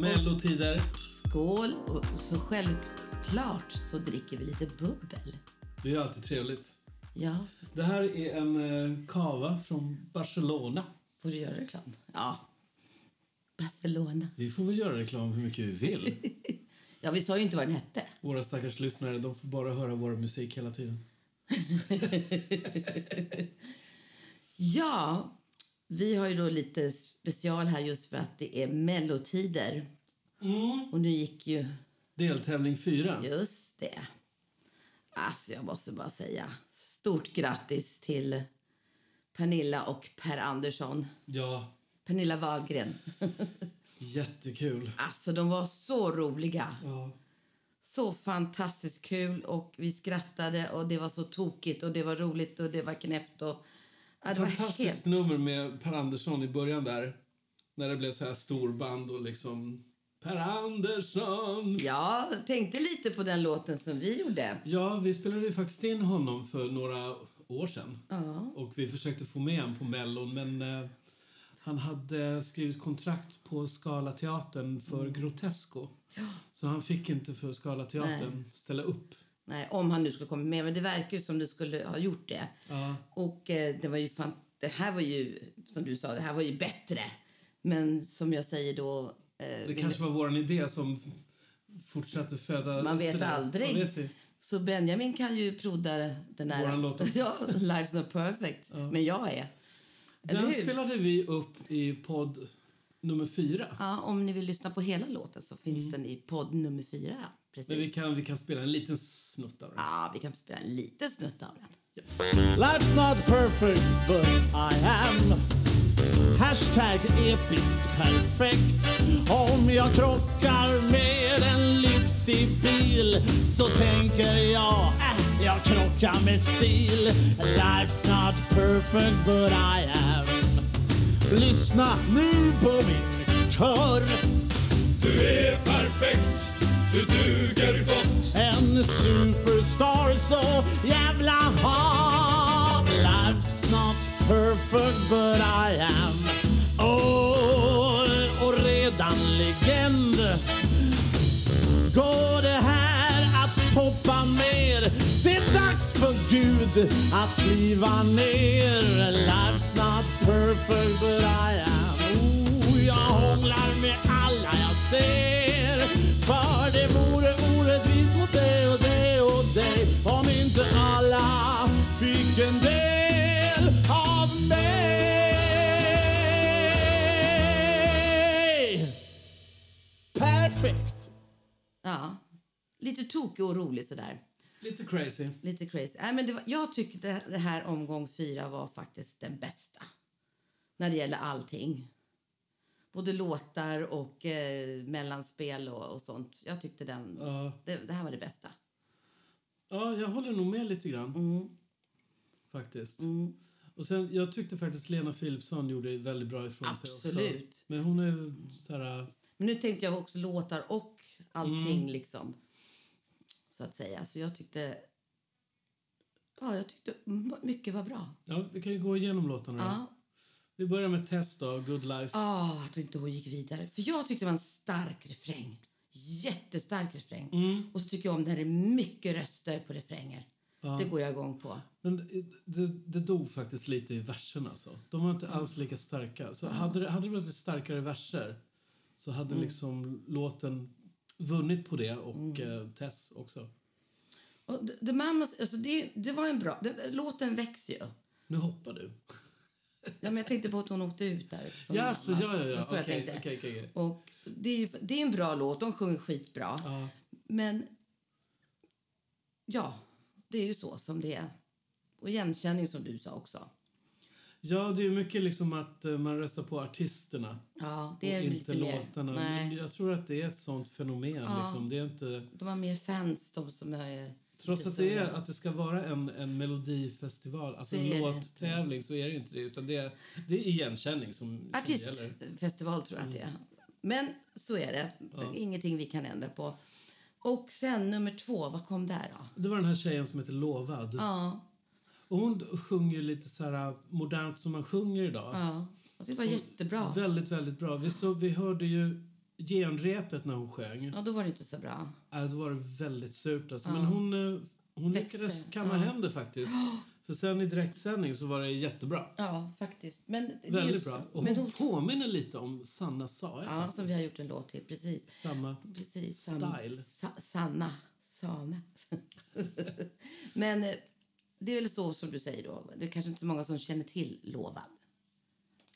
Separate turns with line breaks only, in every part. Mellotider.
Skål! Och så självklart så dricker vi lite bubbel.
Det är ju alltid trevligt.
Ja,
Det här är en eh, cava från Barcelona.
får du göra reklam? Ja. Barcelona.
Vi får väl göra reklam hur mycket vi vill.
Ja, vi sa ju inte vad den hette.
Våra stackars lyssnare, de får bara höra vår musik hela tiden.
Ja, vi har ju då lite special här just för att det är mellotider. Och nu gick ju
Deltävling 4.
just det. Alltså, jag måste bara säga stort grattis till Pernilla och Per Andersson.
Ja,
Pernilla Wahlgren.
jättekul.
Alltså, de var så roliga.
Ja.
Så fantastiskt kul och vi skrattade och det var så tokigt och det var roligt och det var knäppt och... Ja, det var
Fantastiskt
helt...
nummer med Per Andersson i början där. När det blev så här storband och liksom... Per Andersson!
Ja, jag tänkte lite på den låten som vi gjorde.
Ja, vi spelade ju faktiskt in honom för några år sedan.
Ja.
Och vi försökte få med honom på Mellon, men eh, han hade skrivit kontrakt på Skala teatern för
Mm.
Grotesco. Så han fick inte för Skala teatern ställa upp.
Nej, om han nu skulle komma med, men det verkar ju som du skulle ha gjort det.
Ja.
Och eh, det var ju fan... Det här var ju, som du sa, det här var ju bättre. Men som jag säger då... Eh,
Det kanske var vår idé som f- fortsatte föda...
Man vet
det där.
aldrig.
Vad vet vi?
Så Benjamin kan ju prodda den här...
Våran låt också.
Ja, Life's Not Perfect. Men jag är. Eller
Den
hur?
spelade vi upp i podd nummer fyra.
Ja, om ni vill lyssna på hela låten så finns den i podd nummer fyra. ja. Precis.
Mm. Men vi kan, vi kan spela en liten snutt av den.
Ja, vi kan spela en liten snutt av den.
Life's not perfect, but I am. Hashtag episkt perfekt. Om jag krockar med en lypsig bil så tänker jag äh, jag krockar med stil. Life's not perfect, but I am. Lyssna nu på min kör.
Du är perfekt, du duger gott
En superstar så jävla hot Life's not perfect but I am oh, Och redan legend Går det här att toppa mer? Det är dags för Gud att kliva ner Life's not perfect but I am oh, Jag hånglar med alla jag ser För det vore orättvist mot dig och dig och dig Om inte alla fick en del av mig Perfekt!
Ja, lite tokig och rolig sådär.
Lite crazy.
Lite crazy. Nej, men det var, jag tyckte det här omgång fyra var faktiskt den bästa. När det gäller allting. Både låtar och eh, mellanspel och, och sånt. Jag tyckte den,
Ja.
det, det här var det bästa.
Ja, jag håller nog med lite grann.
Mm.
Faktiskt. Och sen, jag tyckte faktiskt Lena Philipsson gjorde väldigt bra ifrån sig också.
Absolut.
Men hon är ju så här...
Men nu tänkte jag också låtar och allting
Mm.
liksom. Så att säga. Så jag tyckte... Ja, jag tyckte m- mycket var bra.
Ja, vi kan ju gå igenom låtarna då.
Ja.
Vi börjar med Test då, Good Life.
Ah, att inte hon gick vidare. För jag tyckte det var en stark refräng. Jättestark refräng.
Mm.
Och så tycker jag om när det är mycket röster på refränger. Det går jag igång på.
Men det- det, det dog faktiskt lite i verserna alltså. De var inte alls lika starka. Så hade, det, hade det varit lite starkare verser så hade
Mm.
liksom låten vunnit på det och eh, Tess också.
Och The, the Mamas, alltså det, det var en bra... Det, låten växer ju.
Nu hoppar du.
Ja, men jag tänkte på att hon åkte ut där. från
Jaså,
Mamas.
ja, ja,
Det var
ja.
så
Okej,
jag tänkte.
okej, okej, okej.
Och det är, ju, det är en bra låt. De sjunger skitbra.
Ja.
Men ja, det är ju så som det är. Och igenkänning som du sa också.
Ja, det är ju mycket liksom att eh, man röstar på artisterna
Ja, det är
och inte
lite mer.
låtarna.
Nej.
Men jag tror att det är ett sånt fenomen. Liksom. Det är inte,
De har mer fans, de som är...
trots
lite
att det, är,
större.
att det ska vara en, en melodifestival, alltså
Så är
en
det
låttävling, så är det ju inte det. Utan det är, det är igenkänning som, som gäller.
Artistfestival tror jag att det är. Men så är det. Ingenting vi kan ändra på. Och sen nummer två, vad kom där då?
Det var den här tjejen som heter Lovad.
Ja,
Och hon sjunger ju lite så här modernt som man sjunger idag.
ja. Jag tyckte det var jättebra.
Väldigt, väldigt bra. Vi, så, vi hörde ju genrepet när hon sjöng,
Ja, då var det inte så bra.
äh, då var det väldigt surt. Alltså. Men
Ja.
hon, eh, hon
Växte.
lyckades kamma
Ja.
hem det faktiskt. För sen i direktsändning så var det jättebra.
Ja, faktiskt. Men det är
Väldigt
just-
bra. Och hon
Men då,
påminner lite om Sanna Sae
ja,
faktiskt.
som vi har gjort en låt till. Precis.
Samma.
Precis. Sam,
Style.
Sa, Sanna. Sana. Men eh, det är väl så som du säger då. Det är kanske inte så många som känner till Lovad.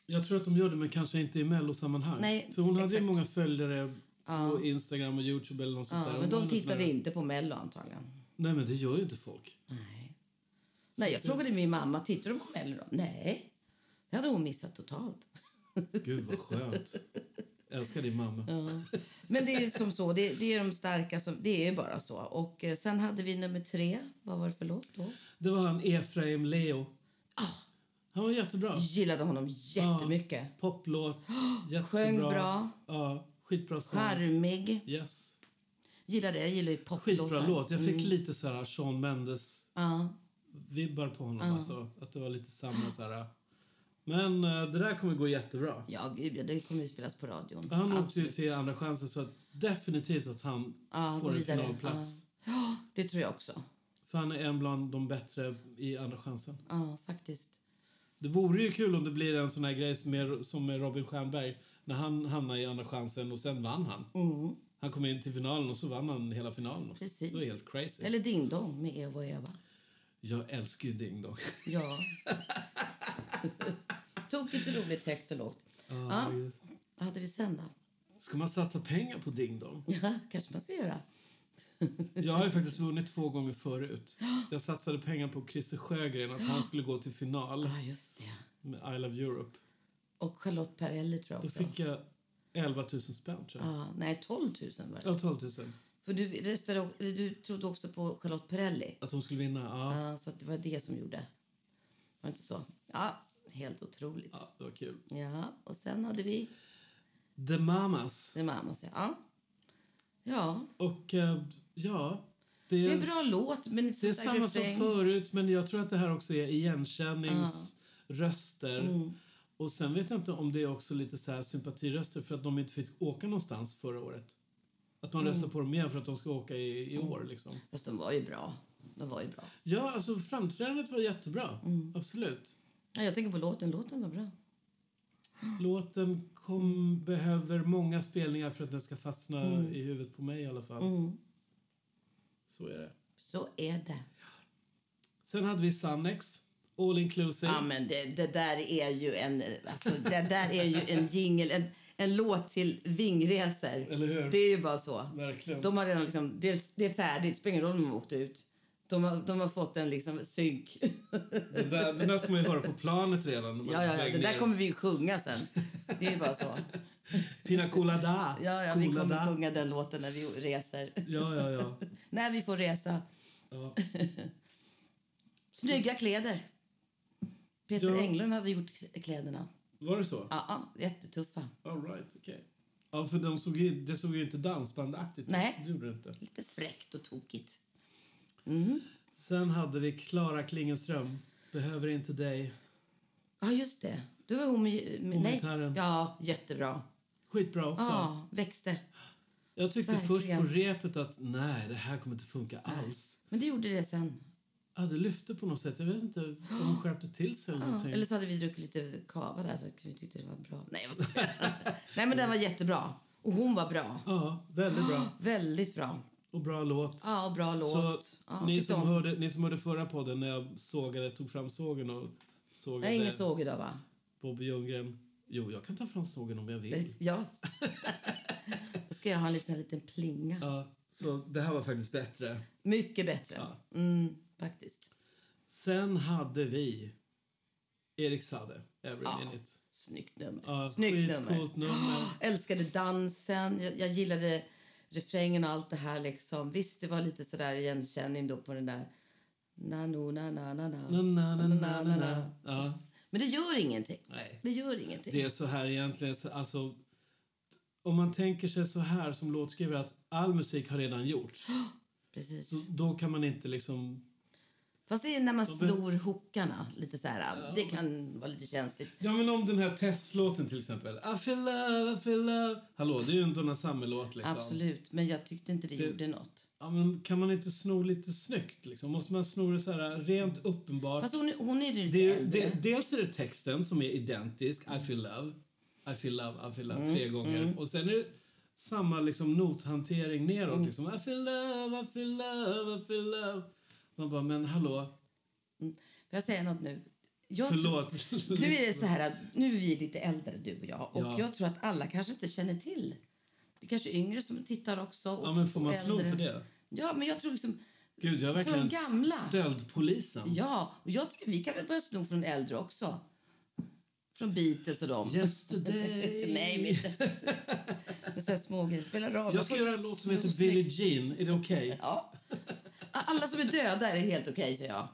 Jag tror att de gör det, men kanske inte i mellosammanhang.
Nej,
För hon hade ju
exakt.
många följare på Instagram och Youtube eller något sånt där.
Ja,
Hon
men
var
de
ändå
tittade
sådär-
inte på Mello antagligen.
Nej, men det gör ju inte folk.
Nej. Nej, jag frågade min mamma, tittar du på Mello då? Nej. Det hade hon missat totalt.
Gud, vad skönt. Älskar din mamma.
Men det är ju som så, det, det är de starka som, det är ju bara så. Och eh, sen hade vi nummer tre, vad var det för låt då?
Det var han Efraim Leo. Han var jättebra.
Gillade honom jättemycket.
Poplåt, jättebra.
Sjöng bra.
Ja, skitbra sång.
Charmig.
Yes.
Gillade det, jag gillar ju poplåtar. Mm.
Skitbra låt. Jag fick lite så här Sean Mendes
Ja.
vibbar på honom. Alltså, att det var lite samma så här. Men eh, det där kommer gå jättebra.
Ja, gud, ja, det kommer ju spelas på radion.
Han åkte ju
Absolut.
till Andra chansen så att definitivt att han
Ja,
får
gå
en
vidare.
finalplats.
Det tror jag också.
För han är en bland de bättre i Andra chansen.
Ja, faktiskt.
Det vore ju kul om det blir en sån här grej som är, som med Robin Stjernberg. När han hamnade i Andra chansen och sen vann han. Han kom in till finalen och så vann han hela finalen. också.
Mm. Precis.
Det är helt crazy.
Eller Ding Dong med Eva och Eva.
Jag älskar ju Ding Dong.
Ja. Tokigt roligt, högt och lågt. Ja. Vad hade vi sen då?
Ska man satsa pengar på Ding Dong?
Ja, kanske man ska göra.
Jag har ju faktiskt vunnit två gånger förut. Jag satsade pengar på Christer Sjögren att han skulle gå till final
Ja, just det.
med I Love Europe.
Och Charlotte Perrelli tror jag
Då
också.
fick jag 11 000 spänn tror jag.
Ja, nej, 12 000 var det.
Ja, 12 000.
För du, röstade, o- eller du trodde också på Charlotte Perrelli.
Att hon skulle vinna? Ja.
Ja, så att det var det som gjorde. Var det inte så? Ja, helt otroligt.
ja, det var kul.
Ja, och sen hade vi
The Mamas.
det mamma säger. Ja. ja,
Och eh, ja...
det är en bra låt men inte
Det är
så stark
samma som
refräng.
förut, men jag tror att det här också är igenkänningsröster.
Mm.
Och sen vet jag inte om det är också lite så här sympatiröster för att de inte fick åka någonstans förra året. Att
Mm.
man röstar på dem igen för att de ska åka i, i år. Liksom.
Fast de var ju bra. De var ju bra.
Ja, alltså framträdandet var jättebra.
Mm.
Absolut.
Ja, jag tänker på låten. Låten var bra.
Låten kom, behöver många spelningar för att den ska fastna
Mm.
i huvudet på mig i alla fall. Så är det.
Så är det.
Sen hade vi Sannex, All Inclusive.
Ja, men det, det där är ju en, alltså, det där är ju en jingle, en, en låt till vingresor.
Eller hur?
Det är ju bara så.
Verkligen.
De har redan liksom, det, det är färdigt, det spelar ingen roll om de åkte ut. De har, de har fått en liksom synk.
Den där, den där ska man ju höra på planet redan. när man
Ja, ja,
är
ja.
på väg
Det där
ner.
kommer vi ju sjunga sen. Det är ju bara så.
Pina colada.
Ja, ja, vi kommer
Colada.
sjunga den låten när vi reser.
Ja, ja, ja.
När vi får resa.
ja.
Snygga kläder. Peter
Ja.
Englund hade gjort kläderna.
Var det så?
Ja, ja, jättetuffa.
All right, okej. Ja, för de såg ju, det såg ju inte dansbandaktigt ut.
Nej.
Det gjorde det inte.
Lite fräckt och tokigt. Mm.
Sen hade vi Klara Klingenström. Behöver inte dig.
Ja, just det. Du var hon med... med nej.
gitarren.
Ja, jättebra.
Skitbra också.
Ja, växte.
Jag tyckte
verkligen.
först på repet att nej, det här kommer inte funka alls.
Men det gjorde det sen.
Ja, det lyfte på något sätt. Jag vet inte om hon skärpte till sig eller
Ja.
någonting.
Eller så hade vi druckit lite kava där så vi tyckte det var bra. Nej, jag skojar. Nej, men den var jättebra. Och hon var bra.
Ja, väldigt bra.
Väldigt bra.
Och bra låt.
Ja, och bra
Så
låt. ja, typ
ni,
tyckte
som
om.
hörde, ni som hörde förra podden när jag sågade, tog fram sågen och sågade
Nej, ingen såg idag, va?
Bobby Ljunggren. Jo, jag kan ta fram sågen om jag vill.
Ja. Då ska jag ha en liten, liten plinga.
Ja, så det här var faktiskt bättre.
Mycket bättre. Mm, faktiskt.
Sen hade vi Erik Sade, Every
Ja.
Minute.
Snyggt nummer.
Ja,
Snyggt nummer.
skitcoolt nummer.
älskade dansen. Jag, jag gillade refrängen och allt det här. Liksom. Visst, det var lite sådär igenkänning då på den där... Na, no, na, na, na, na.
Na, na, na, na,
na.
na, na. Ja,
Men det gör ingenting.
nej.
Det gör ingenting.
Det är så här egentligen. så- Alltså, om man tänker sig så här som låtskrivare att all musik har redan gjorts,
Precis.
så då kan man inte liksom
Fast det är när man
De be-
snor hookarna lite så här. Det kan vara lite känsligt.
Ja, men om den här Tess-låten till exempel. I feel love, I feel love. Hallå, det är ju en Donna Summer-låt liksom.
Absolut, men jag tyckte inte det,
Det-
gjorde något.
Ja, men kan man inte sno lite snyggt liksom? Måste man sno det så här rent uppenbart?
Fast hon, hon är ju lite
Det är, ju-
äldre.
det, dels är det texten som är identisk, I feel love, I feel love, I feel
Mm.
love, tre gånger. Och sen är det samma liksom nothantering neråt.
Mm.
Liksom, I feel love, I feel love, I feel love. Man bara, men hallå,
Får jag säga något nu? Jag tror-
förlåt.
Nu är det så här att nu är vi lite äldre, du och jag. Och
Ja.
jag tror att alla kanske inte känner till. Det är kanske yngre som tittar också. Och
ja, men får man
äldre.
sno för det?
Ja, men jag tror liksom...
Gud, jag är
För de
verkligen
gamla.
stöldpolisen.
Ja, och jag tycker vi kan väl börja sno från äldre också. Från Beatles och dem.
Yesterday.
Nej, men inte... Men sen smågrejer spelar roll. Man
Jag ska
får
göra en låt som
sno
heter Billie
snyggt.
Jean. Är det okej?
Ja. Alla som är döda är helt okej, säger jag.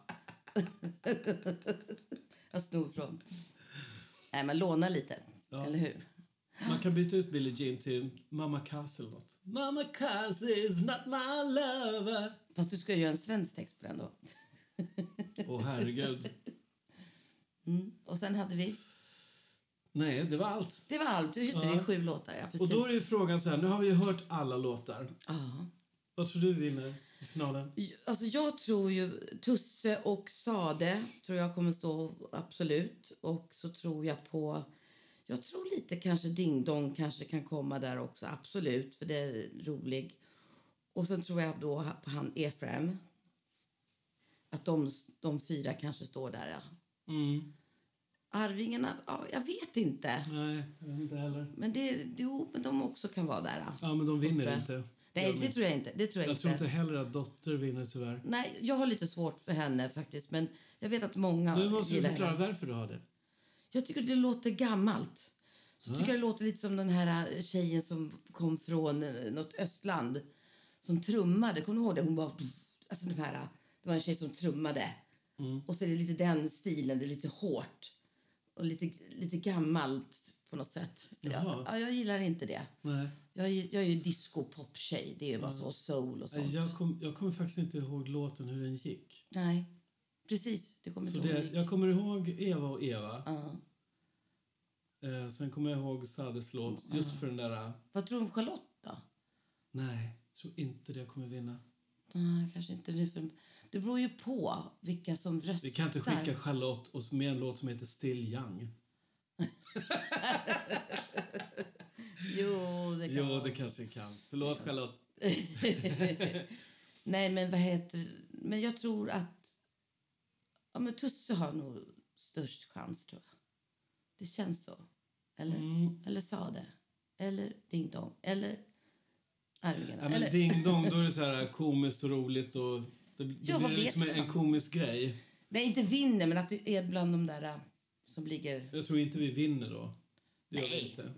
Jag snor från... Nej, men låna lite.
Ja.
Eller hur?
Man kan byta ut Billie Jean till Mamma Cass eller något. Mamma Cass is not my lover.
Fast du ska göra en svensk text på den då.
Åh, herregud.
Och sen hade vi...
Nej, det var allt.
Det var allt. Just det,
Ja.
det är sju låtar. Ja,
Och
precis.
då är ju frågan så här, nu har vi ju hört alla låtar.
ja.
Vad tror du vinner i finalen?
Alltså, jag tror ju... Tusse och Sade tror jag kommer stå absolut. Och så tror jag på... Jag tror lite kanske Ding Dong kanske kan komma där också. Absolut, för det är rolig. Och sen tror jag då på han Efraim. Att de, de fyra kanske står där. Ja.
Mm.
Arvingarna... Ja, jag vet inte.
Nej, jag vet inte heller.
Men det, det, jo, men de också kan vara där. Ja.
Ja, men de vinner
Uppe.
inte. Gör
Nej,
de
det
inte.
tror jag inte. Det tror jag,
Jag tror
inte.
inte heller att Dotter vinner tyvärr.
Nej, jag har lite svårt för henne faktiskt. Men jag vet att många
Nu måste du
gillar
förklara
henne.
varför du har det.
Jag tycker det låter gammalt. Så tycker jag det låter lite som den här eh, tjejen som kom från eh, något östland. Som trummade. Kommer du ihåg det? Hon bara... Alltså de här, eh, det var en tjej som trummade.
Mm.
Och så är det lite den stilen. Det är lite hårt. Och lite, lite gammalt på något sätt.
Jaha.
Ja, jag gillar inte det.
Nej.
Jag är, jag är ju disco-pop-tjej. Det är ju bara så soul och sånt.
Nej, Jag, kom, jag kommer faktiskt inte ihåg låten, hur den gick.
Nej, precis. Det kommer
Så
inte
det,
ihåg.
jag kommer ihåg Eva och Eva.
Ja.
Eh, sen kommer jag ihåg Sades låt,
Mm.
just för den där... eh,
Vad tror du om Charlotte då?
Nej, jag tror inte det kommer vinna.
Nej, kanske inte nu. För... Det beror ju på vilka som röstar.
Vi kan inte skicka Charlotte och med en låt som heter Still Young.
Jo, det kan
Jo,
vara.
det kanske vi kan. Förlåt Charlotte.
Nej, men vad heter... Men jag tror att... Ja, men Tusse har nog störst chans, tror jag. Det känns så. Eller,
Mm.
eller Sade. Eller Ding Dong. Eller Arvingarna.
Ja, men
eller...
ding dong, då är det så här äh, komiskt och roligt och det, det
Ja, vad
blir
vet
liksom
man?
en komisk grej.
Nej, inte vinner, men att det är bland de där äh, som ligger...
Jag tror inte vi vinner då. Det gör
Nej.
vi inte.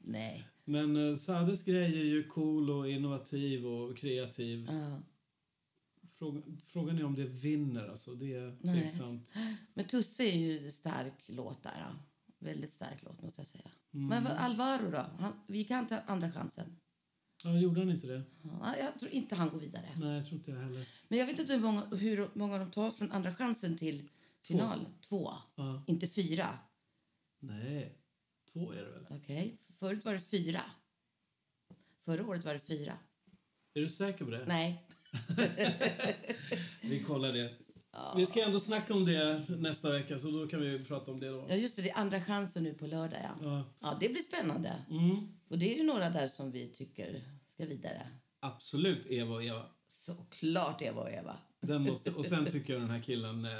Nej.
Men eh, Sades grej är ju cool och innovativ och kreativ.
Ja.
Frågan, frågan är om det vinner alltså. Det är
Nej.
tveksamt.
Men Tusse är ju stark låt där. ja. Väldigt stark låt måste jag säga.
Mm.
Men vad- Alvaro då? Han, vi kan ta andra chansen.
Ja, gjorde han inte det?
Ja, jag tror inte han går vidare.
Nej, jag tror inte jag heller.
Men jag vet inte hur många, hur många de tar från andra chansen till final. Två.
Ja.
Inte fyra.
Nej, två är det väl?
Okej. Förut var det fyra. Förra året var det fyra.
Är du säker på det?
Nej.
Vi kollar det. Vi ska ändå snacka om det nästa vecka, så då kan vi prata om det då.
Ja, just det. Det är andra chansen nu på lördag. Ja.
Ja, Mm.
Ja, det blir spännande. Och det är ju några där som vi tycker ska vidare.
absolut Eva och Eva.
Såklart Eva och Eva.
Den måste, och sen tycker jag den här killen... Eh,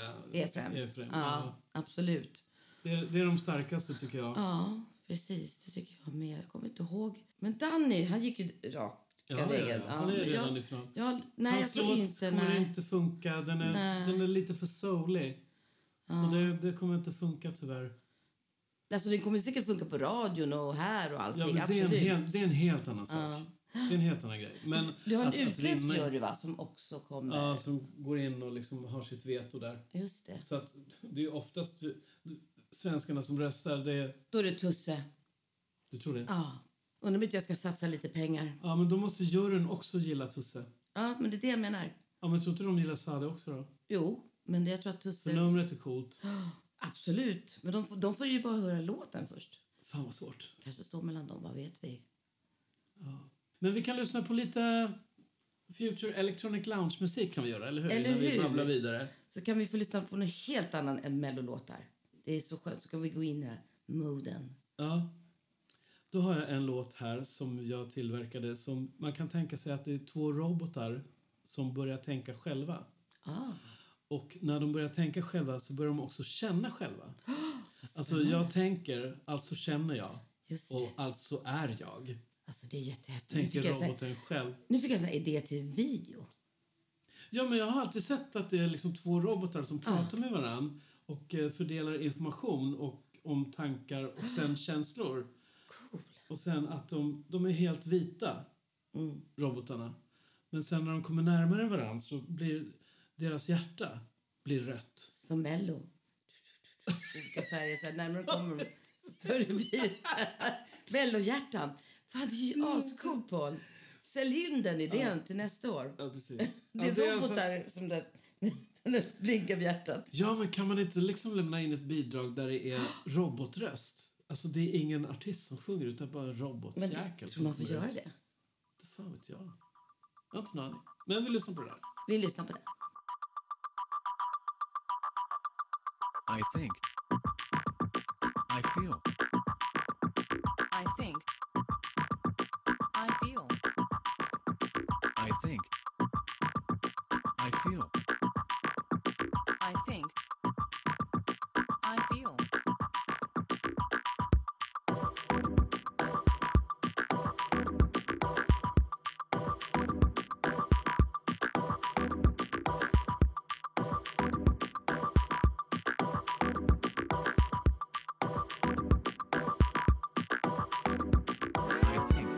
Efraim.
Efraim,
Ja,
ja.
absolut.
Det, är- det är de starkaste, tycker jag.
Ja, precis. Det tycker jag med. Jag kommer inte ihåg. Men Danny, han gick ju rakt
Ja, ja, ja.
vägen.
Han är
men
redan
jag,
i final.
jag, nej,
Hans
jag tror
låt
inte...
kommer
Nej.
inte funka. Den är,
Nej.
den är lite för soulig. Och det, det kommer inte funka, tyvärr.
Alltså, den kommer säkert funka på radion och här och allting.
Ja, men det, är en
absolut.
hel, det är en helt annan sak. Det är en helt annan grej. Men
Du har en
att- att
utländsk
vinna-
jury, va? Som också kommer.
Ja, som går in och liksom har sitt veto där.
Just det.
Så att det är oftast svenskarna som röstar. Det är,
Då är det Tusse.
du tror det?
Ja. Undrar om inte jag ska satsa lite pengar.
Ja, men då måste juryn också gilla Tusse.
Ja, men det är det jag menar.
Ja, men tror inte de gillar Sade också då?
Jo, Men jag tror att
Så
Tusse...
numret är coolt.
Absolut. Men de, får- de får ju bara höra låten först.
Fan vad svårt.
Kanske står mellan dem, vad vet vi?
Men vi kan lyssna på lite Future Electronic Lounge-musik kan vi göra, eller hur?
Eller
Innan vi
hur?
babblar vidare.
Så kan vi få lyssna på något helt annat än mellolåtar. Det är så skönt. Så kan vi gå in i den här moden.
Ja. Då har jag en låt här som jag tillverkade som man kan tänka sig att det är två robotar som börjar tänka själva.
Ah,
Och när de börjar tänka själva så börjar de också känna själva. Alltså jag tänker, alltså känner jag
just
och
det.
alltså är jag.
Alltså, det är jättehäftigt. Nu
Tänker
fick, jag så här,
roboten själv.
nu fick jag en idé till video.
Ja men jag har alltid sett att det är liksom två robotar som pratar med varann och eh, fördelar information och om tankar och sen känslor.
Ah. Cool.
Och sen att de, de är helt vita,
Mm.
robotarna. Men sen när de kommer närmare varandra så blir deras hjärta blir rött.
Som mello. Olika färger. Så här, närmare kommer de, större blir Mellohjärtan. Fan, det är ju ascool, Paul. Sälj in den idén till nästa år.
Ja, alltså- precis.
Det
Ja,
är alltså-
i alla fall-
robotar som där, som där blinkar med hjärtat.
Ja, men kan man inte liksom lämna in ett bidrag där det är robotröst? Alltså det är ingen artist som sjunger utan bara en
Men
robotjäkel.
tror man får
kommer
göra
ut.
det?
Det fan vet jag. Jag har inte en aning. Men vi lyssnar på det där.
Vi lyssnar på det.
I think. I feel.
I think. I feel.
I think. I feel.
I think. I feel.
I think.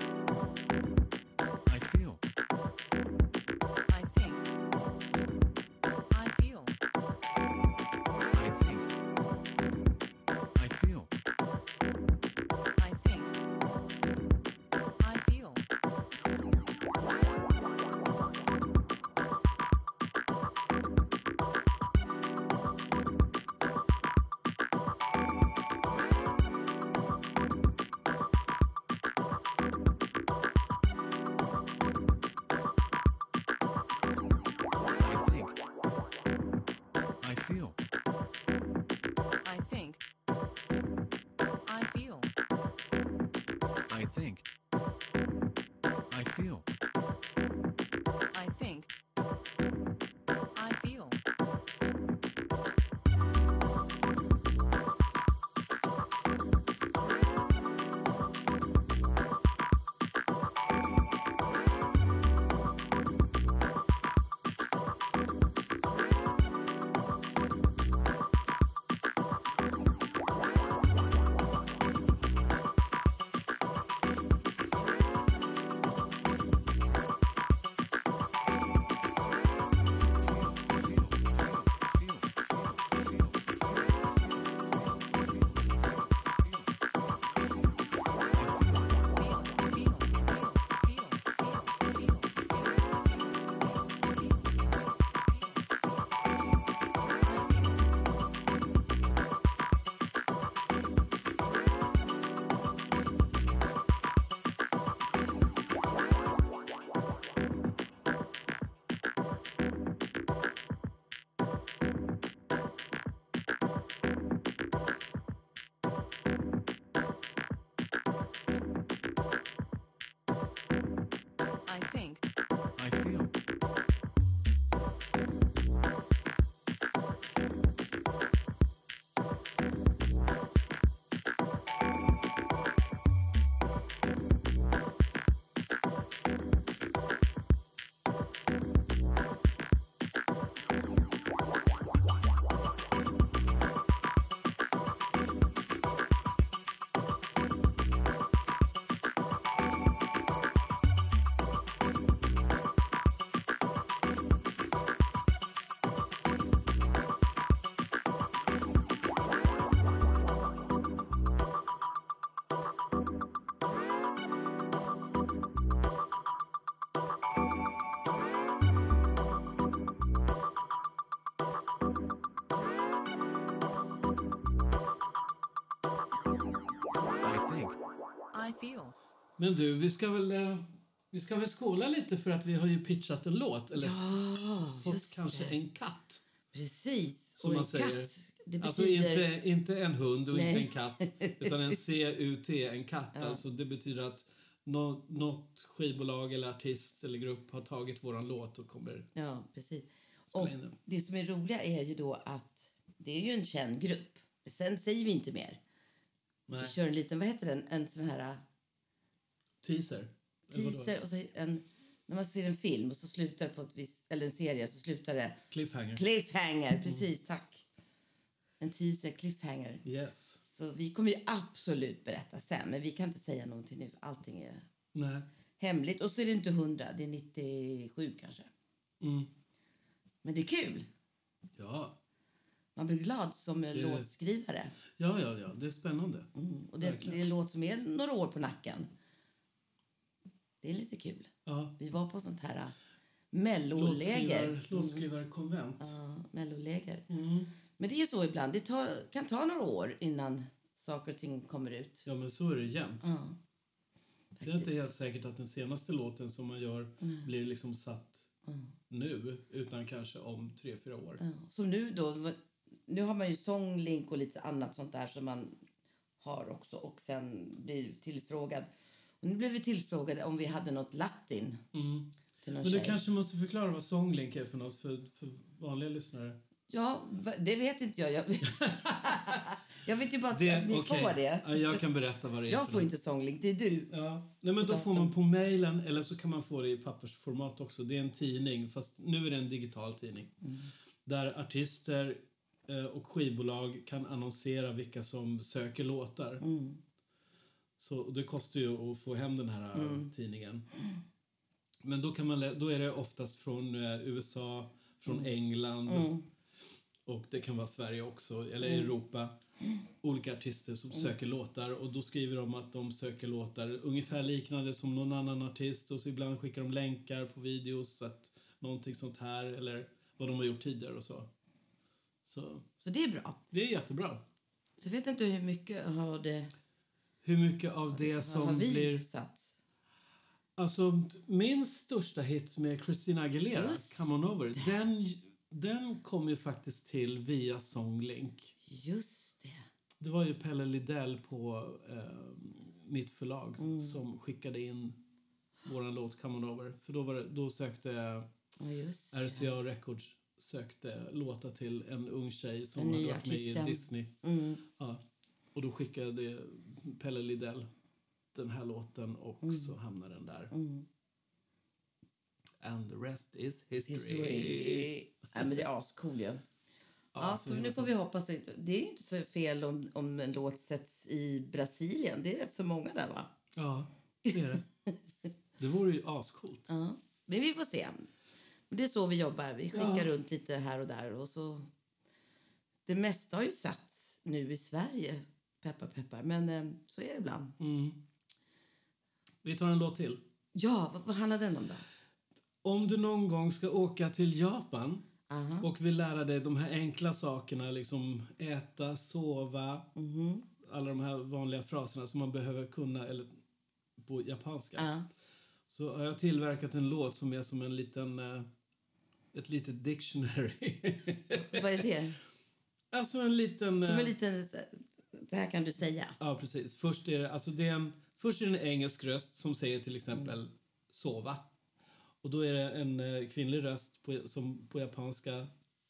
I feel.
I think. I feel.
I think.
I feel.
Men du, vi ska väl... eh, Vi ska väl skåla lite för att vi har ju pitchat en låt. Eller fått
just
kanske
det.
en katt.
Precis.
Som
och
man
en
säger.
katt, det betyder...
Alltså inte, inte en hund och
Nej.
inte en katt, utan en CUT, en katt. Alltså det betyder att nå, något skivbolag eller artist eller grupp har tagit våran låt och kommer...
Ja, precis. Och
in den.
det som är roliga är ju då att det är ju en känd grupp. Sen säger vi inte mer.
Nej,
Vi kör en liten, vad heter den, en sån här äh,
teaser. Eller vadå?
teaser och så en, när man ser en film och så slutar det på ett visst, eller en serie så slutar det
Cliffhanger.
cliffhanger,
Mm.
precis, tack. En teaser, cliffhanger.
yes.
Så vi kommer ju absolut berätta sen, men vi kan inte säga någonting nu. Allting är
Nej.
hemligt. Och så är det inte 100, det är 97 kanske.
Mm.
Men det är kul.
Ja.
Man blir glad som eh,
Det-
låtskrivare.
ja, ja, ja. Det är spännande.
Mm, Och det,
Verkligen.
det är en låt som är några år på nacken. Det är lite kul.
Ja.
Vi var på sånt här eh, melloläger.
Låtskrivar, Mm. låtskrivarkonvent.
Mm. Ja, melloläger. Men det är ju så ibland. Det tar, kan ta några år innan saker och ting kommer ut.
Ja, men så är det jämt.
Ja,
Det är inte
faktiskt. Mm.
helt säkert att den senaste låten som man gör blir liksom satt nu, utan kanske om tre, fyra år.
Ja, Som nu då. Nu har man ju sånglink och lite annat sånt där som man har också och sen blir tillfrågad. Och nu blev vi tillfrågade om vi hade något latin
Mm.
till någon
Men du
tjej.
kanske måste förklara vad Songlink är för något för, för vanliga lyssnare.
Ja, va- det vet inte jag. Jag vet, jag vet ju bara att ni
okej.
får det.
Ja, jag kan berätta vad det är.
Jag
för
får
något.
inte sånglink, det är du.
Ja. Nej, men då får man på mejlen, eller så kan man få det i pappersformat också. Det är en tidning, fast nu är det en digital tidning. Där artister eh, och skivbolag kan annonsera vilka som söker låtar. Så och det kostar ju att få hem den här eh, tidningen. Men då, kan man, lä- då är det oftast från eh, USA, från England och det kan vara Sverige också, eller Europa. Olika artister som söker låtar och då skriver de att de söker låtar ungefär liknande som någon annan artist och så ibland skickar de länkar på videos, att någonting sånt här eller vad de har gjort tidigare och så. Så
Så det är bra.
det är jättebra.
Så jag vet inte hur mycket har det
Hur mycket av det
har
som
vi
blir...
satt.
Alltså, min största hit med Christina Aguilera,
Just
Come On Over, den, den kom ju faktiskt till via Songlink.
Just det.
Det var ju Pelle Lidell på eh, mitt förlag
Mm.
som skickade in vår låt Come On Over. För då, var det, då sökte
Ja, just det.
RCA Records sökte låtar till en ung tjej som
Den
hade
nya
varit med i
artisten.
Disney.
Mm,
Ja. Och då skickade Pelle Lidell den här låten och
Mm.
så hamnade den där. And the rest is history.
History. Ja, men det är ascool ju. Ja, så nu får vi hoppas det. Det är ju inte så fel om, om en låt sätts i Brasilien. Det är rätt så många där va?
Ja, det är det. Det vore ju ascoolt.
Ja. Men vi får se. Men det är så vi jobbar. Vi skickar runt lite här och där. Och så... Det mesta har ju satts nu i Sverige. Peppar, peppar. Men eh, så är det ibland.
Vi tar en låt till.
Ja, vad, vad handlar den om då?
Om du någon gång ska åka till Japan
Aha.
och vill lära dig de här enkla sakerna, liksom äta, sova,
Mhm.
alla de här vanliga fraserna som man behöver kunna eller på japanska.
Ja.
Så har jag tillverkat en låt som är som en liten, eh, ett litet dictionary.
Vad är det?
alltså en liten...
Som
eh,
en liten... Det här kan du säga.
Ja, precis. Först är det, alltså det är en, först är det en engelsk röst som säger till exempel
Mm.
sova. Och då är det en eh, kvinnlig röst på, som på japanska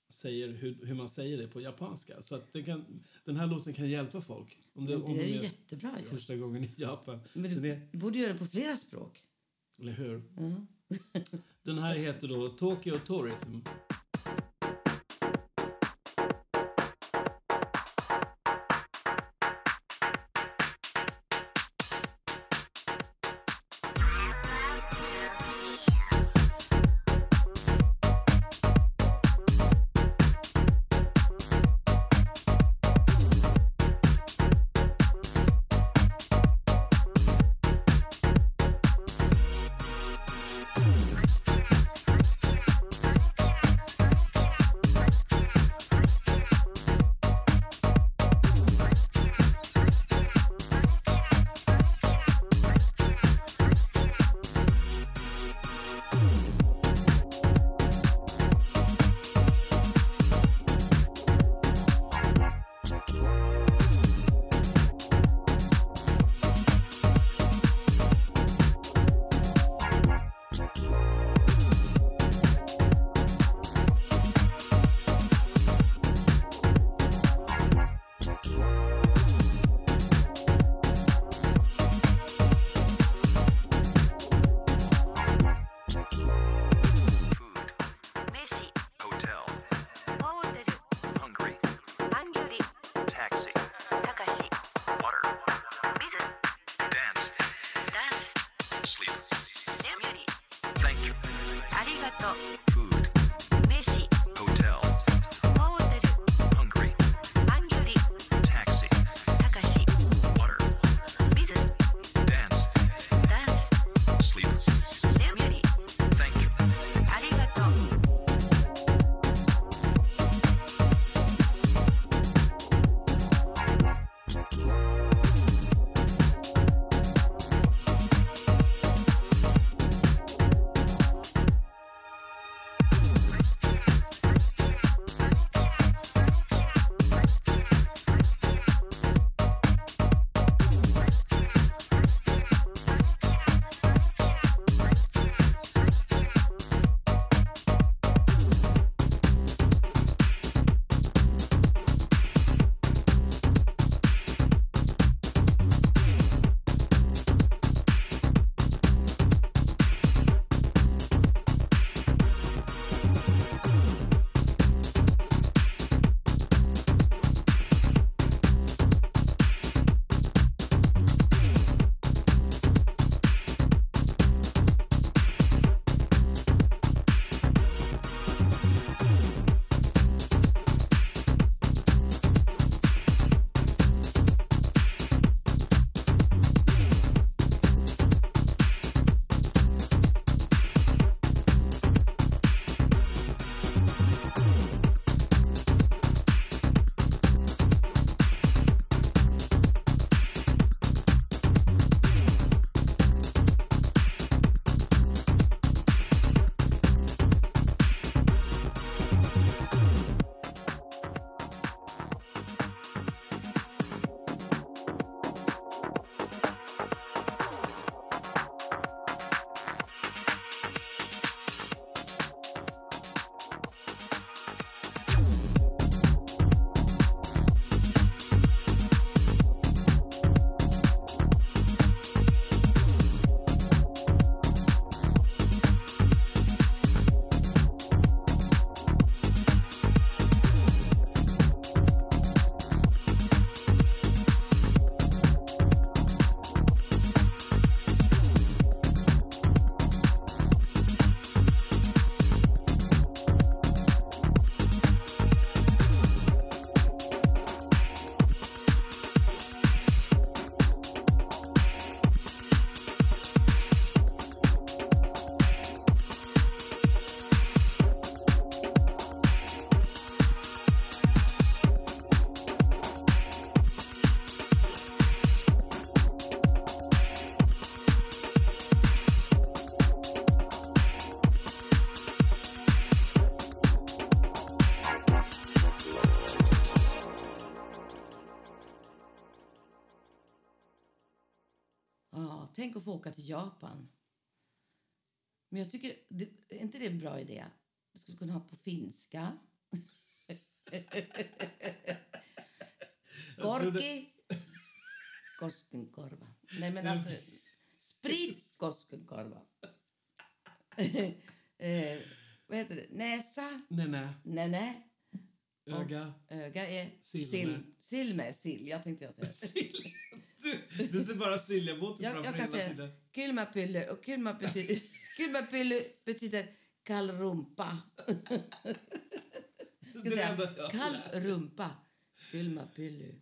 säger hur, hur man säger det på japanska. Så att den, kan, den här låten kan hjälpa folk. Om det, om
Det är
de
ju jättebra ju.
första gången i Japan.
Men du
Så det,
borde göra den på flera språk.
eller hur? den här heter då Tokyo Tourism.
Thank you.
tänk att få åka till Japan. Men jag tycker, det, är inte det en bra idé? Du skulle kunna ha på finska.
Jag trodde-
Korki. Koskenkorva. Nej, men alltså... Sprit Koskenkorva. eh, vad heter det? Näsa?
Nej, nej.
Nej, nej.
Öga.
Öga är...
Silme.
Sil- Silme. Sill, jag tänkte jag säga.
Silja. Du, du ser bara Siljabåten
Jag,
framför
jag kan
hela
säga
tiden.
kylmäpylle och kylmäpylle kylmäpylle betyder kall rumpa.
Det
Jag
är det,
ska
enda jag
säga,
har
kall
lärt-
rumpa, kylmäpylle.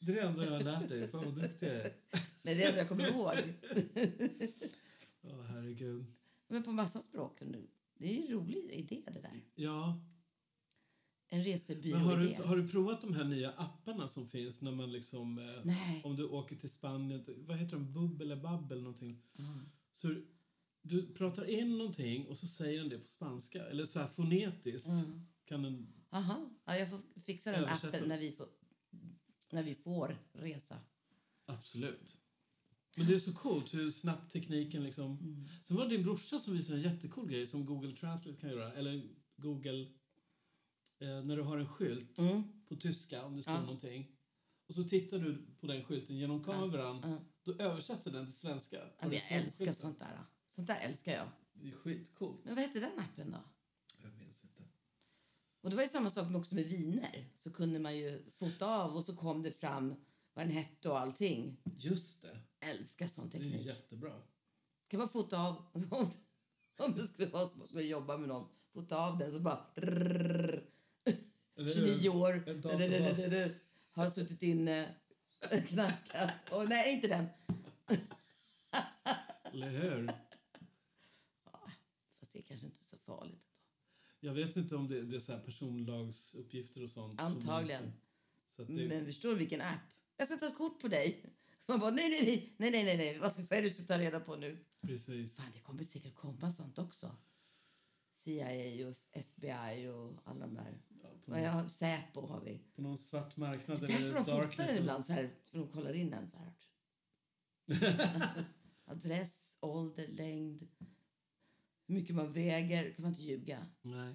det är det enda jag har lärt dig. Fan vad duktig jag är.
Nej, det är det enda jag kommer ihåg.
Åh, herregud.
Men på massa språk. nu. Det är ju en rolig idé det där.
Ja.
En
Men har,
resebyråidé.
du, har du provat de här nya apparna som finns när man liksom... Eh,
Nej.
Om du åker till Spanien, till- vad heter de? Bubb eller babb eller någonting. Så du- du pratar in någonting och så säger den det på spanska. Eller så här fonetiskt. Kan den,
Aha. Ja, jag får fixa den
Översätta.
appen när vi får, när vi får resa.
absolut. Men det är så coolt hur snabbt tekniken liksom...
Mm.
Sen var det din brorsa som visade en jättecool grej som Google Translate kan göra. Eller Google... Eh, när du har en skylt på tyska om det står
Mm. Ja.
någonting. Och så tittar du på den skylten genom kameran.
ja.
Då översätter den till svenska.
Ja,
vad
men
det
jag
står på
älskar
skylten.
sånt där. Sånt där älskar jag.
Det är skitcoolt.
Men vad heter den appen då?
Jag minns inte.
Och det var ju samma sak med, också med viner. Så kunde man ju fota av och så kom det fram vad den hette och allting.
Just det.
Älskar sån
Det är
teknik.
jättebra.
Kan man fota av om, om det skulle vara som att man jobba med någon. Fota av den så bara... drrrr.
Eller hur?
29 år.
En databas.
drrrrrrrrr, Har suttit inne, knackat. Och, nej, inte den.
Eller hur?
Fast det är kanske inte så farligt.
Jag vet inte om det, det är så här personlagsuppgifter och sånt. som-
Antagligen. Mm.
Så att det,
Men förstår du vilken app? Jag ska ta ett kort på dig. Man bara, nej, nej, nej, nej, nej, nej, nej. Vad ska- vad är det du ska ta reda på nu?
precis.
Fan, det kommer säkert komma sånt också. CIA och FBI och alla de där.
Ja, på,
Men
någon,
jag, Säpo har vi.
på någon svart marknad
Det är
eller
därför de fotar den
Alltså, darknet.
ibland så här. För de kollar in den så här. Adress, ålder, längd. Hur mycket man väger. kan man inte ljuga.
Nej.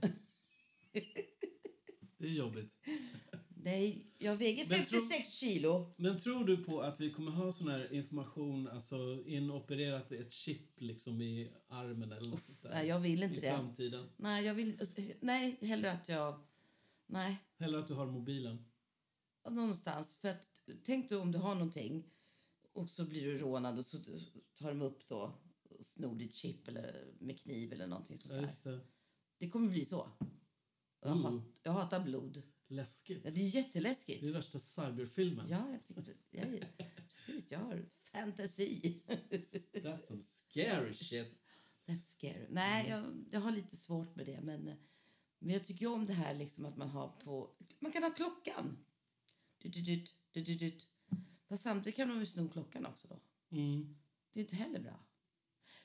Det är jobbigt.
Nej, jag väger
Men
56
tror-
kilo.
Men tror du på att vi kommer ha sån här information, alltså inopererat i ett chip liksom i armen eller något sånt där?
Nej, jag vill
I
inte det.
framtiden.
Nej, jag vill Nej, hellre att jag... Nej.
Hellre att du har mobilen.
någonstans. För att, tänk då om du har någonting och så blir du rånad och så tar de upp då och snor ditt chip eller med kniv eller någonting sånt
Ja,
där.
just det.
Det kommer bli så. Och Jag,
Oh.
hat, jag hatar blod.
Läskigt.
Ja, det är
Det är
jätteläskigt.
värsta cyberfilmen.
Ja, jag fick, jag, precis. Jag har fantasi.
That's some scary shit.
That's scary.
Mm.
Nej, jag, jag har lite svårt med det. Men, men jag tycker ju om det här liksom att man har på... Man kan ha klockan. Du, du, du, du, du, du. Fast samtidigt kan de ju sno klockan också då.
Mm.
Det är inte heller bra.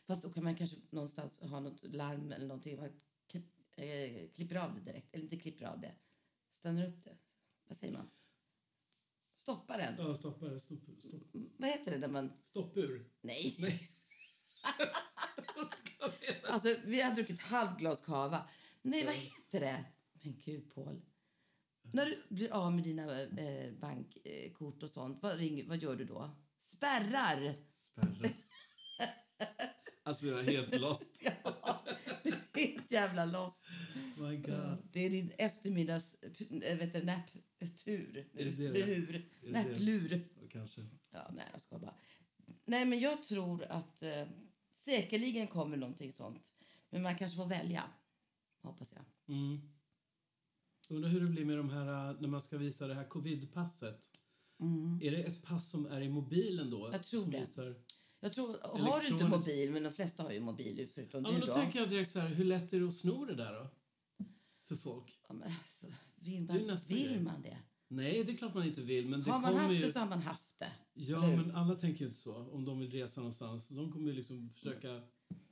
Fast då kan man kanske någonstans ha något larm eller någonting. Man k- eh, klipper av det direkt. Eller inte klipper av det. Stannar upp det. Vad säger man? Stoppar den.
Ja, stoppa, stoppa, stoppa.
Vad heter det när man...
Stoppur.
Nej.
Nej.
alltså, vi har druckit ett halvt glas cava. Nej, vad heter det? Men gud, Paul. När du blir av med dina eh, bankkort och sånt, vad, ringer, vad gör du då? Spärrar!
Spärra. Alltså, jag är helt lost.
Du är ett jävla loss.
My God.
Det är din eftermiddags eh, vet du, napptur.
Är det det det är?
Lur.
det det?
Napplur.
Kanske.
Ja, nej, jag ska bara. Nej, men jag tror att eh, säkerligen kommer någonting sånt. Men man kanske får välja, hoppas jag.
Mm. Undrar hur det blir med de här, eh, när man ska visa det här covidpasset. Är det ett pass som är i mobilen då?
Mm. Jag tror
som
det.
Visar...
Jag tror, har du inte
Elektronisk-
mobil, men de flesta har ju mobil förutom
Ja,
du
men
då.
då tänker jag direkt så här, hur lätt är det att sno det där då? För folk?
Ja, men alltså, vill
Det är
man,
nästa grej.
vill man det?
Nej, det är klart man inte vill. Men det
Har man
kommer
haft
ju...
det så har man haft det.
Ja,
Eller hur?
men alla tänker ju inte så. Om de vill resa någonstans. De kommer ju liksom försöka...
Nej,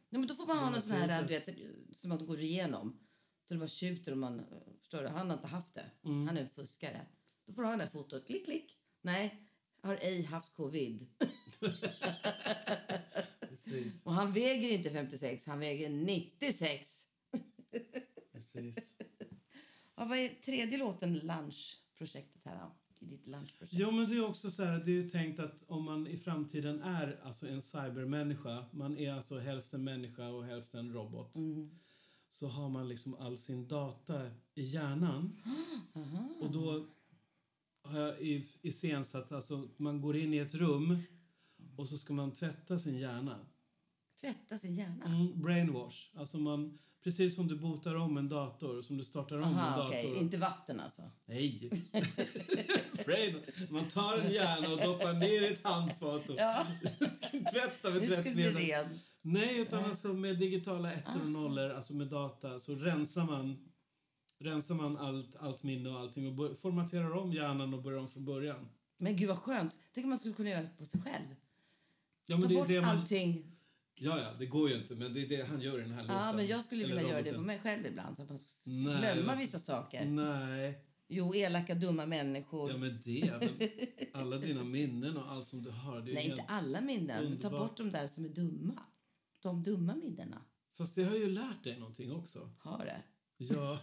men då får man ha
Ja,
någon sån här, du
precis.
vet, som man går igenom. Så det bara tjuter om man... Förstår du? Han har inte haft det.
Mm.
Han är en fuskare. Då får du ha det här fotot. Klick, klick. Nej, har ej haft covid.
Precis.
Och han väger inte 56, han väger 96.
Precis.
Ja, vad är tredje låten lunchprojektet här då? I ditt lunchprojekt?
Jo, men det är också så här, det är ju tänkt att om man i framtiden är alltså en cybermänniska, man är alltså hälften människa och hälften robot,
Mm.
så har man liksom all sin data i hjärnan. Och då har jag i- iscensatt, alltså man går in i ett rum och så ska man tvätta sin hjärna.
Tvätta sin hjärna.
Mm, brainwash. Alltså man, precis som du botar om en dator, som du startar om en
Aha,
dator.
okej. Inte vatten alltså.
Nej! Brain. Man tar en hjärna och doppar ner i ett handfat och
Ja,
tvättar med
nu ska du bli Ah.
tvättmedel.
ren.
Nej, utan alltså med digitala ettor och nollor, alltså med data, så rensar man, rensar man allt, allt minne och allting och bör- formaterar om hjärnan och börjar om från början.
Men gud vad skönt. Tänk om man skulle kunna göra det på sig själv.
Ja, men
Ta
det är
bort
det man,
allting.
ja, ja, det går ju inte, men det är det han gör i den här låten.
Ja, men jag skulle
Eller
vilja göra det på
roboten.
mig själv ibland. Så att man s-
Nej,
glömma
varför?
vissa saker.
Nej,
Jo, elaka, dumma människor.
ja men det, men alla dina minnen och allt som du har, det är ju
Nej,
helt
inte alla minnen. Men ta
underbart.
bort de där som är dumma. De dumma minnena.
Fast det har ju lärt dig någonting också.
Har det.
Ja.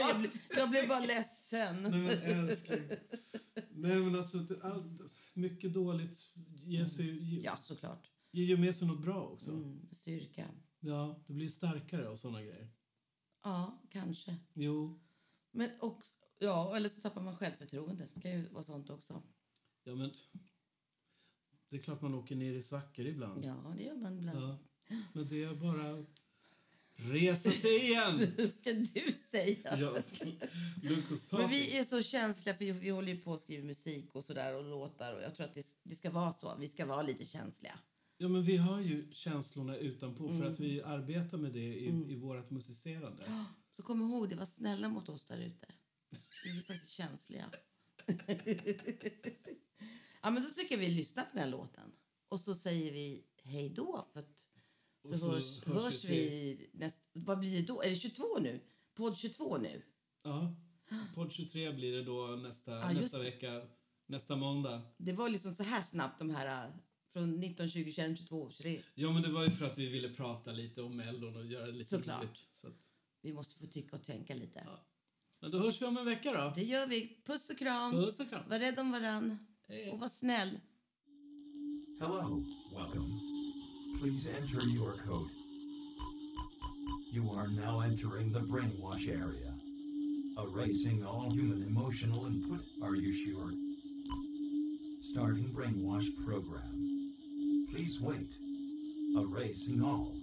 Jag blev, jag blev bara ledsen.
Nej, men älskling. Nej, men alltså, det- allt, mycket dåligt ger, sig, ge-
Ja, såklart.
ger ju med sig något bra också.
Mm, styrka.
Ja, du blir starkare av såna grejer.
Ja, kanske.
Jo,
Men också, ja, eller så tappar man självförtroendet. Det kan ju vara sånt också.
ja men... Det är klart man åker ner i svackor ibland.
Ja, det gör man ibland.
Ja. Men det är bara att resa sig igen!
ska du säga.
Ja. Lukas
Men
Tapic.
vi är så känsliga, för vi håller ju på och skriver musik och sådär och låtar. Och jag tror att det, det ska vara så. Vi ska vara lite känsliga.
Ja, men vi har ju känslorna utanpå för
Mm.
att vi arbetar med det i, i vårt musicerande.
Så kom ihåg det, var snälla mot oss där ute. Vi är faktiskt känsliga. ja, men då tycker jag vi lyssnar på den här låten. Och så säger vi hej då. För att, så,
Och så
hörs,
hörs vi
hörs, vi näst, Vad blir det då? Är det 22 nu? Podd 22 nu?
Ja. Podd 23 blir det då nästa,
Ja, just
nästa
det.
vecka. Nästa måndag.
Det var liksom så här snabbt de här äh, från 19, 20, 21, 22, 23.
Ja, men det var ju för att vi ville prata lite om Mellon och göra det lite
Såklart.
roligt. Så att,
Vi måste få tycka och tänka lite.
men då hörs vi om en vecka då.
Det gör vi. Puss och kram.
Puss och kram.
Var rädd om varann. Och var snäll.
Hello, welcome. Please enter your code. You are now entering the brainwash area. Erasing all human emotional input, are you sure? Starting brainwash program. Please wait. Erasing all.